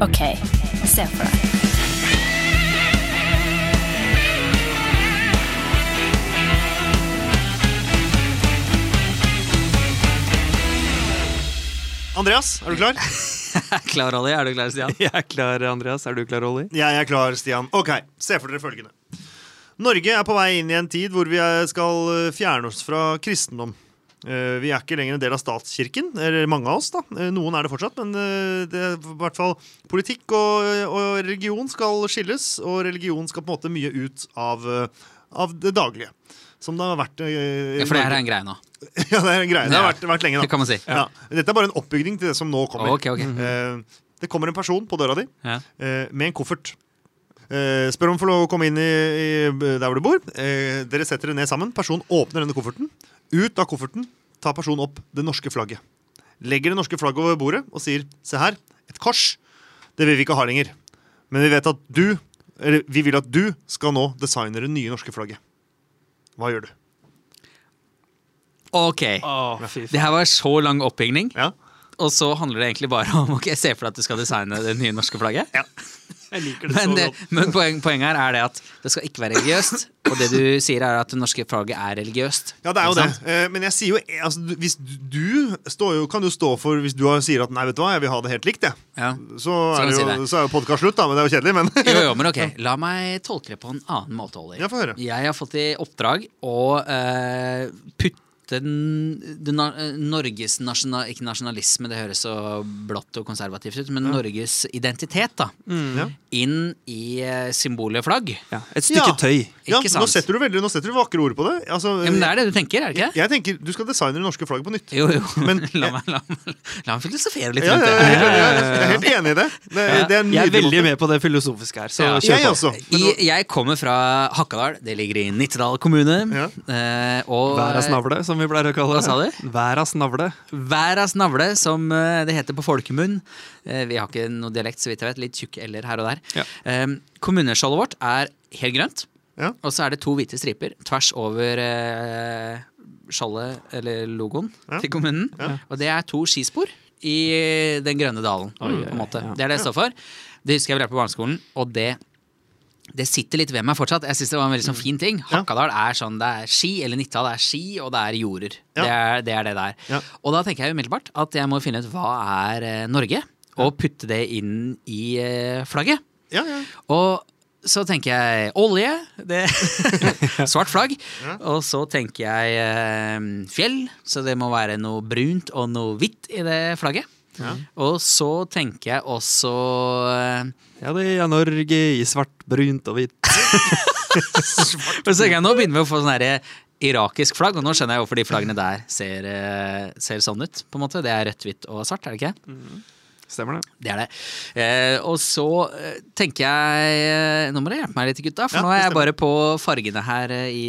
OK, se for deg. Andreas, er du klar? Klar, Olli? Er du klar, Stian? Jeg er klar, Andreas. Er du klar, Olli? Jeg er klar, Stian. Ok, se for dere følgende. Norge er på vei inn i en tid hvor vi er- skal eh, fjerne oss fra kristendom. Eh, Vi er ikke lenger en del av statskirken, eller mange av oss. da. Eh, Noen er det fortsatt, men eh, det er i hvert fall politikk og, og religion skal skilles, og religion skal på en måte mye ut av, eh, av det daglige. Som det har vært eh, Ja, for det her er en greie nå. Ja, det er en greie. Det har Ja. vært, vært lenge, da. Det kan man si. Ja. Dette er bare en oppbygning til det som nå kommer. Ok, ok. Eh, det kommer en person på døra di Ja. eh, med en koffert. Eh, spør om å få lov å komme inn i, i der hvor du bor. Eh, dere setter dere ned sammen. Personen åpner denne kofferten. Ut av kofferten tar personen opp det norske flagget. Legger det norske flagget over bordet og sier se her, et kors. Det vil vi ikke ha lenger. Men vi vet at du, eller vi vil at du skal nå designe det nye norske flagget. Hva gjør du? Ok. Å, fy Det faen. her var så lang oppbygning, Ja? og så handler det egentlig bare om Ok, se for deg at du skal designe det nye norske flagget. Jeg liker det Men, så det, godt. men poeng, poenget her er det at det skal ikke være religiøst. Og det du sier, er at det norske flagget er religiøst. Ja, det er jo Ikke det. sant? Eh, Men jeg sier jo altså, du- hvis du står jo, kan jo stå for Hvis du har- sier at nei, vet du hva, jeg vil ha det helt likt, jeg. Ja. Så, er kan det jo, man si det. så er jo podkast slutt, da. Men det er jo kjedelig, men Jo, jo, men ok. La meg tolke det på en annen måte, Olli. Ja, få høre. Jeg har fått i oppdrag å eh, putte den, den na- eh, Norges nasjonal, Ikke nasjonalisme, det høres så blått og konservativt ut, men Norges identitet, da. Ja. Inn i eh, symbolet flagg. Øh, Ja, et Ja. stykke tøy. Ja, Ikke Nå sant? setter du veldig Nå setter du vakre ord på det. Altså, Ja, men det er det du tenker, er det ikke? Jeg tenker du skal designe det norske flagget på nytt. Jo, jo. Men- la, meg, la, meg, la meg filosofere litt Ja, ja, rundt det. jeg, er helt enig i det. Det, det er en Jeg er nydelig veldig måte. med på det filosofiske her, så Ja. kjør Jeg på. også. Men I, nå- jeg kommer fra Hakadal. Det ligger i Nittedal kommune. Ja. Eh, og Væras navle, som vi pleier å kalle det. Hva sa du? Væras navle. Væras navle, som eh, det heter på folkemunn. Eh, Vi har ikke noe dialekt, så vidt jeg vet. Litt tjukk eller her og der. Ja. Eh, Kommuneskjoldet vårt er helt grønt. Ja. Og så er det to hvite striper tvers over eh, skjoldet, eller logoen, Ja. til kommunen. Og det er to skispor i den grønne dalen, på en måte. Det er det jeg står for. Det husker jeg vi lærte på barneskolen, og det det sitter litt ved meg fortsatt. Jeg synes Det var en veldig sånn fin ting. Hakadal er sånn, det er ski, eller Nittedal er ski, og det er jorder. Ja. Det, er, det er det der. Ja. Og da tenker jeg umiddelbart at jeg må finne ut hva er eh, Norge, og putte det inn i eh, flagget. Ja, ja. Og så tenker jeg olje, det, svart flagg. Og så tenker jeg eh, fjell, så det må være noe brunt og noe hvitt i det flagget. Og så tenker jeg også eh, Ja, det er Norge i svart, brunt og hvitt. Men så tenker jeg, nå begynner vi å få sånn her irakisk flagg, og nå skjønner jeg hvorfor de flaggene der ser, eh, ser sånn ut. på en måte. Det er rødt, hvitt og svart, er det ikke? Stemmer det? Det er det. Eh, og så eh, tenker jeg eh, Nå må dere hjelpe meg litt, gutta, for Ja, nå er det jeg bare på fargene her eh, i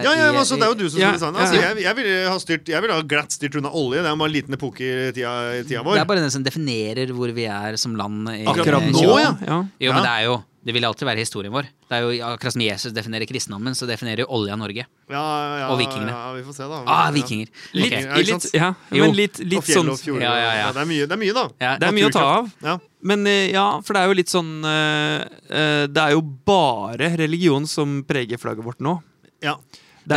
Ja, ja, i- men altså, det er jo du som Ja, skal designe. ja, Altså, ja. jeg, jeg ville ha styrt Jeg ville ha glatt styrt unna olje. Det er jo bare en liten epoke i tida, i tida Det vår. er bare den som definerer hvor vi er som land. i- Akkurat i nå, tjueårene. ja. Eh, ja. Jo, Ja. men det er jo Det vil alltid være historien vår. Det er jo Akkurat som Jesus definerer kristendommen, så definerer jo olja Norge. Ja, ja, ja, Og vikingene. Ja, vi får se, da. Ah, vikinger. Litt, Ok. Ja, ikke sant? litt, ja. Jo. Men litt, Og litt fjell sånn og fjorder. Ja, ja, ja. det, er mye, det er mye, da. Ja, Det er mye å ta av. Ja. Men eh, ja, for det er jo litt sånn eh, eh, Det er jo bare religion som preger flagget vårt nå. Ja. Det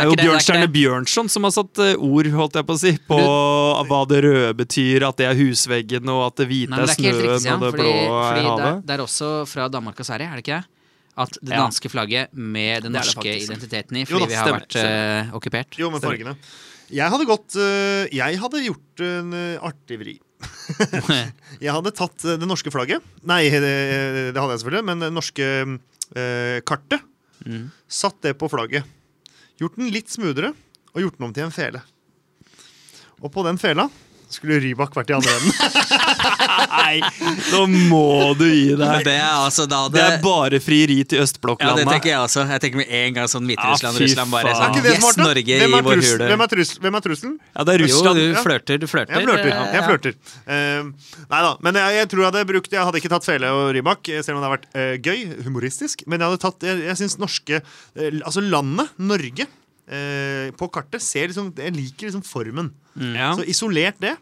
er er jo ikke det, det er Bjørnstjerne ikke det. Bjørnson som har satt eh, ord holdt jeg på å si, på hva det røde betyr, at det er husveggen, og at det hvite Nei, men er det er ikke helt snøen, riktig, Stian. og det Fordi, blå er fordi det, er, havet. det er også fra Danmark og Sverige, er det ikke? At det Ja. danske flagget med den Det er det norske faktisk. identiteten i, Jo fordi da, vi har stemmer, vært eh, okkupert. Jo, men fargene. Jeg hadde gått øh, Jeg hadde gjort en øh, artig vri. jeg hadde tatt øh, det norske flagget. Nei, det, det hadde jeg selvfølgelig, men det norske øh, kartet. Mm. Satt det på flagget. Gjort den litt smoothere og gjort den om til en fele. Og på den fela skulle Rybak vært i andre enden. Nei, nå må du gi Men deg! Det er altså da Det er bare frieri ja, til det østblokklandet. tenker jeg også. Jeg tenker med en gang sånn Hviterussland, Ja, fy Russland bare Er faen. sånn ikke det Yes, smart, da? Norge hvem, i er vår trus- hule. hvem, er trus- hvem er trusselen? ja, det er Jo, Russland. du ja. flørter, du flørter. Jeg flørter. eh, jeg ja. flørter. Eh, nei da, men jeg, jeg tror jeg hadde brukt Jeg hadde ikke tatt Fele og Rybak, eh, selv om det har vært eh, gøy, humoristisk. Men jeg hadde tatt Jeg, jeg syns norske eh, Altså landet, Mm. Norge, eh, på kartet ser liksom Jeg liker liksom formen. Ja. Så isolert det,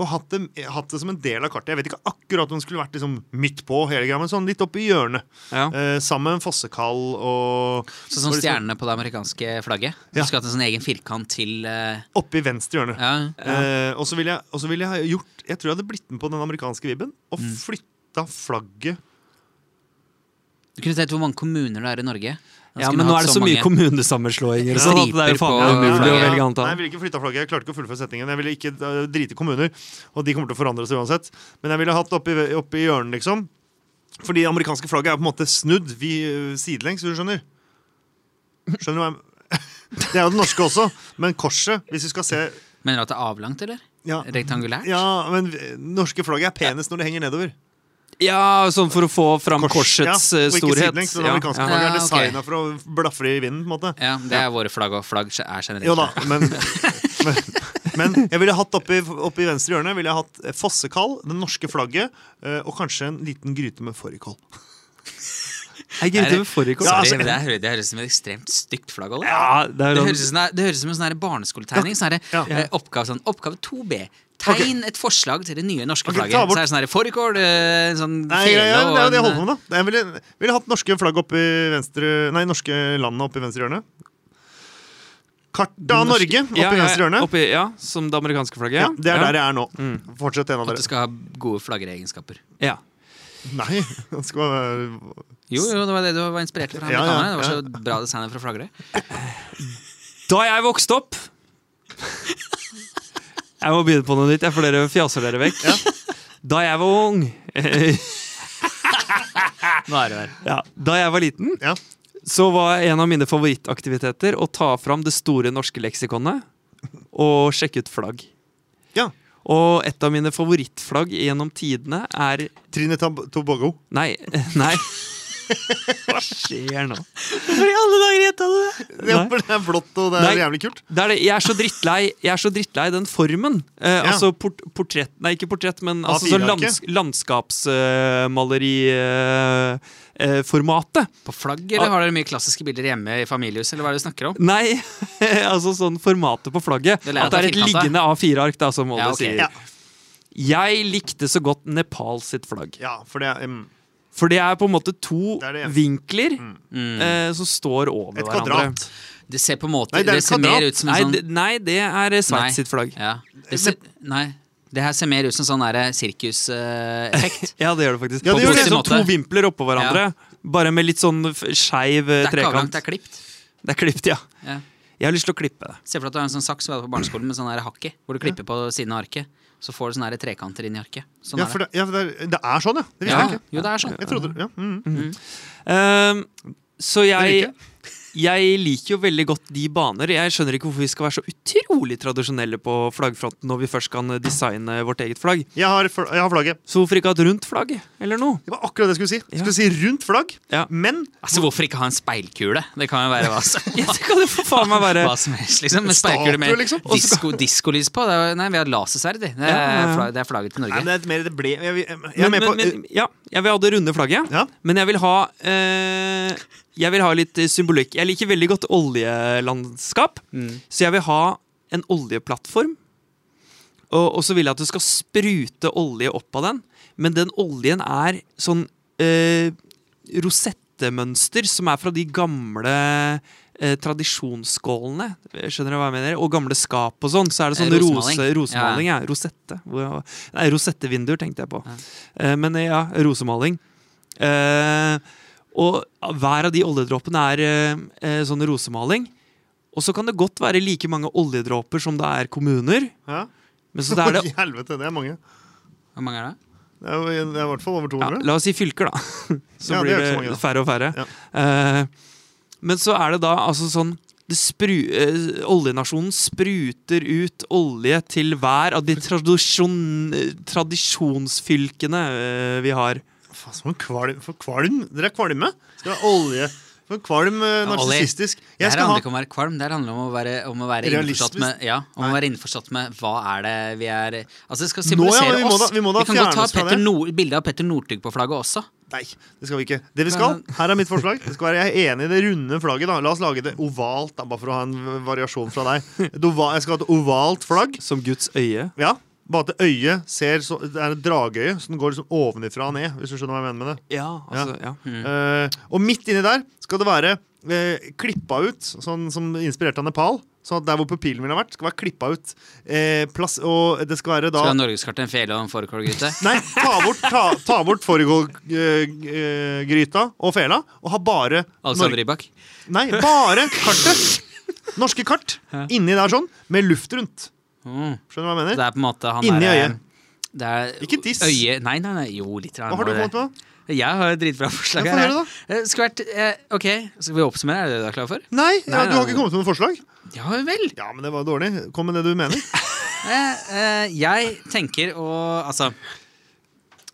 og hatt det, hatt det som en del av kartet. Jeg vet ikke akkurat om det skulle vært liksom midt på, hele greia, men sånn litt oppi hjørnet. Ja. Eh, sammen med en fossekall og Sånn som og liksom stjernene på det amerikanske flagget. Du Ja. skulle hatt en sånn egen firkant til eh, Oppi venstre hjørne. ja. Eh, og så ville jeg, og så ville jeg ha gjort Jeg tror jeg hadde blitt med på den amerikanske vibben og flytta flagget Du kunne sett hvor mange kommuner det er i Norge. Da Ja, skulle men du nå hatt er det så mye mange- kommunesammenslåinger og sånn at det er jo Striper faen på- meg umulig å Ja. velge Nei, jeg antall. ville ikke flytta flagget. Jeg klarte ikke å fullføre setningen. Jeg ville ikke eh, drite i kommuner, og de kommer til å forandre seg uansett. Men jeg ville hatt oppi, oppi hjørnet, liksom. Fordi det amerikanske flagget er på en måte snudd vi, eh, sidelengs, hvis du skjønner. Skjønner du hva jeg Det er jo det norske også, men korset, hvis vi skal se Mener du at det er avlangt, eller? Ja, Rektangulært? ja men eh, norske flagget er penest når det henger nedover. Ja, sånn for å få fram korsets ja, eh, og ikke storhet. sidelengs. men Det Ja, amerikanske ja. flagget er Ja, ok. designa for å blafre i vinden, på en måte. Ja, det er våre flagg, og flagg er generelt. Jo da, men, men, men jeg ville hatt oppi, oppi venstre hjørne ville jeg hatt fossekall, det norske flagget eh, og kanskje en liten gryte med fårikål. Jeg gikk ut med fårikål. Sorry, Ja, altså- men det, hø- det høres ut som et ekstremt stygt flagg. Olle. Ja, det er Det jo høres ut som, det høres ut som en sånn her barneskoletegning. Sånn her, Ja. eh, oppgave, sånn, oppgave 2B. Tegn et forslag til det nye norske Ok, flagget. ta bort- Så er det sånn her fårikål, eh, sånn Nei, ja, ja, og det er jo det jeg en- eh, holder på med, da. Jeg ville, ville hatt norske flagg oppi venstre Nei, norske landet oppi venstre hjørne. Kartet av Norge oppi Ja, ja, venstre hjørne. oppi- ja, som det amerikanske flagget. Ja, det er der jeg er nå. Fortsett en av At det dere. skal ha gode flaggeregenskaper. Ja. Nei, det skal være Jo, jo, det var det du var inspirert fra. Ja, ja, ja. amerikanerne. Det var så bra designer fra flaggere. Da jeg vokste opp Jeg må begynne på noe nytt, jeg, for dere fjaser dere vekk. Da jeg var ung Nå er det der. ja, Da jeg var liten, Ja. så var en av mine favorittaktiviteter å ta fram det store norske leksikonet og sjekke ut flagg. ja. Og et av mine favorittflagg gjennom tidene er Trine Tab- Tobago. Nei. nei. Hva skjer nå? Hvorfor i alle dager gjetta du det? Det Nei. er blått, og det Nei. er jævlig kult. Det er det. Jeg er så drittlei Jeg er så drittlei den formen. Eh, Ja. Altså port, portrett Nei, ikke portrett, men altså, sånn A4-arket. lands, eh, landskapsmaleriformatet. På flagg, Ah. eller har dere mye klassiske bilder hjemme i familiehuset, eller hva er det du snakker om? nei, altså sånn formatet på flagget. Det lærer At at det er et det er firkantet. liggende A4-ark, da, som Molde Ja, ok. sier. Ja, Jeg likte så godt Nepal sitt flagg. ja for det er em, For det er på en måte to Det er det. Mm. vinkler eh, som står over et hverandre. kvadrat. Det ser på en måte Nei, det er det, et ser mer kvadrat. ut som en Nei, sånn det- nei, det er eh, Nei. Sveits sitt flagg. Ja. Det ser, nei. Det her ser mer ut som sånn sirkuseffekt. Ja, det gjør det faktisk. Ja, det gjør På det. en måte Som måte. to vimpler oppå hverandre, bare med litt sånn f- skeiv eh, det er ikke avlangt, trekant. det er klipt. Det er klippet, ja. Ja. Jeg har lyst til å klippe det. Se for deg at du har en sånn saks vi hadde på barneskolen med sånn her hakk i, hvor du klipper på siden av arket. Så får du sånne her trekanter inn i arket. Sånn Ja, er for det. det, ja, for det, er, det er sånn, ja. Det visste Ja, jeg ikke. jo, det er sånn. Jeg trodde, ja, mm. Ehm, så jeg liker jeg liker jo veldig godt de baner. Jeg skjønner ikke hvorfor vi skal være så utrolig tradisjonelle på flaggfronten når vi først kan eh, designe vårt eget flagg. jeg, har, fl- jeg har flagget. Så hvorfor ikke ha et rundt flagg, eller noe? Det var akkurat det jeg skulle si. Jeg skulle si rundt flagg, Ja. men Altså, hvorfor ikke ha en speilkule? Det kan jo være hva som, Ja, det kan jo for faen meg være hva som helst, liksom. En Statue, speilkule med liksom. disko- diskolys på. Det er, nei, vi har lasersverd, i. det. Ja, Er ja. flagg, det er flagget Nei, til Norge. men det er mer det ble Jeg, jeg, jeg er men, med på men, men, ja, jeg vil ha det runde flagget, Ja. men jeg vil ha eh, Jeg vil ha litt eh, symbolikk. Jeg liker veldig godt oljelandskap, Mm. så jeg vil ha en oljeplattform. Og, og så vil jeg at det skal sprute olje opp av den, men den oljen er sånn eh, rosettemønster som er fra de gamle eh, tradisjonsskålene. Skjønner du hva jeg mener? Og gamle skap og sånn. Så er det sånn Eh, rosemaling. rose, rosemaling. Ja. Rosette. Hvor- Nei, rosettevinduer tenkte jeg på. Eh, men eh, ja, rosemaling. Eh, og hver av de oljedråpene er eh, eh, sånn rosemaling. Og så kan det godt være like mange oljedråper som det er kommuner. ja. Men så det er det I helvete, det er mange. Hvor mange er det? Det er, jo- det er i hvert fall over ja, 200. La oss si fylker, da. Så Ja, det blir er ikke det så mange, da. færre og færre. Ja. Eh, men så er det da altså sånn det spru, eh, Oljenasjonen spruter ut olje til hver av de tradisjon, eh, tradisjonsfylkene eh, vi har. Faen, som en kvalm, for kvalm. Dere er kvalme. Skal ha olje. For en kvalm eh, Ja, olje. narsissistisk. Det Jeg her skal handler ha ikke om å være kvalm, det her handler om å være, om å være Realistisk. innforstått med Ja, om å være innforstått med hva er det vi er Altså, det Nå, skal ja, symbolisere vi må oss. da- vi må da kan godt fjerne ta oss fra Petter det. Nord, bilde av Petter Northug på flagget også. Nei, det skal vi ikke. Det vi skal, Her er mitt forslag. Det skal være, jeg er enig i det runde flagget. da La oss lage det ovalt, da, bare for å ha en variasjon fra deg. Et ova- Jeg skal ha et ovalt flagg. Som Guds øye. Ja, Bare at øyet ser så, Det er et drageøye som går liksom ovenifra og ned. Hvis du skjønner hva jeg mener med det Ja, altså, ja. Eh, Og midt inni der skal det være eh, klippa ut, sånn som inspirert av Nepal. Sånn at der hvor pupillen ville vært, skal være klippa ut. Eh, plass, og det skal være da Skal ha norgeskartet en fele og en fårikålgryte? Nei, ta bort, ta, ta bort fårikålgryta og fela, og ha bare Alexander Norge- Altså Rybak? Nei, bare kartet! Norske kart inni der sånn, med luft rundt. Mm. Skjønner du hva jeg Det mener? er på en måte han Inni der, eh, øyet. Det er Ikke tiss. Øye. Nei, nei, nei, jo, litt. Hva har du kommet med? Jeg har et dritbra forslag. Ja, få her. høre, Eh, Skulle vært eh, Ok, skal vi oppsummere? Er det det du er klar for? Nei, ja, Nei, du har nei, ikke kommet med noe forslag? Ja vel. Ja, men det var dårlig. Kom med det du mener. Eh, eh, jeg tenker å Altså,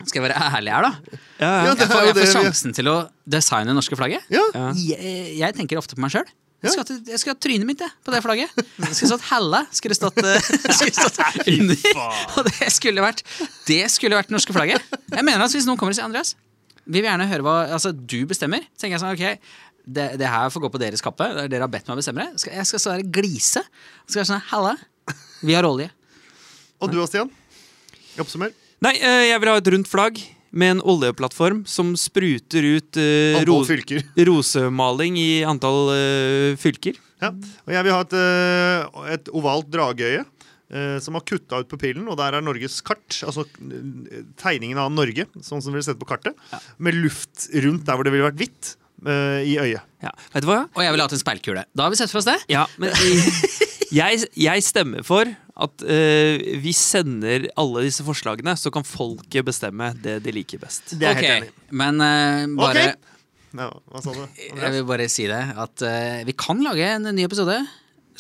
skal jeg være ærlig her, da? Ja, ja. Ja, det er jo Jeg får, jeg får det vi- sjansen til å designe det norske flagget. Ja, Ja. Jeg, jeg tenker ofte på meg sjøl. Ja. Jeg skulle hatt- jeg skulle hatt trynet mitt jeg, på det flagget. Jeg skulle stått hella skulle stått, eh, skulle stått under. Og det skulle vært Det skulle vært det norske flagget. Jeg mener at Hvis noen kommer og sier Andreas, vi vil gjerne høre hva altså, du bestemmer, så tenker jeg sånn ok det, det her får gå på deres kappe. det er Dere har bedt meg å bestemme det. Skal- Jeg skal stå der og glise. Så skal jeg sånn, Halla, vi har olje. Og du og Stian? Oppsummer. Nei, eh, jeg vil ha et rundt flagg med en oljeplattform som spruter ut eh, Antall ros fylker. rosemaling i antall eh, fylker. Ja. Og jeg vil ha et, eh, et ovalt drageøye eh, som har kutta ut pupillen, og der er Norges kart. Altså eh, tegningen av Norge, sånn som vi sett på kartet. Med luft rundt der hvor det ville vært hvitt eh, i øyet. Ja. Vet du hva? Og jeg ville hatt en speilkule. Da har vi sett for oss det. Ja, men i- jeg, jeg stemmer for at eh, vi sender alle disse forslagene, så kan folket bestemme det de liker best. Det er jeg Ok, helt enig i. Men eh, bare Ok. Ja, hva sa du? Jeg Andreas? vil bare si det, at eh, vi kan lage en ny episode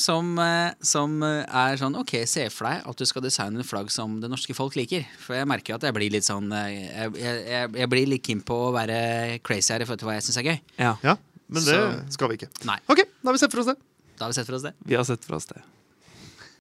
som, eh, som eh, er sånn Ok, se for deg at du skal designe en flagg som det norske folk liker. For jeg merker jo at jeg blir litt sånn eh, Jeg, jeg, jeg, jeg blir litt keen på å være crazy her i forhold til hva jeg syns er gøy. Ja, Ja, men det Så- skal vi ikke. Nei. Ok, da har vi sett for oss det. Da har vi sett for oss det. vi har sett fra oss det.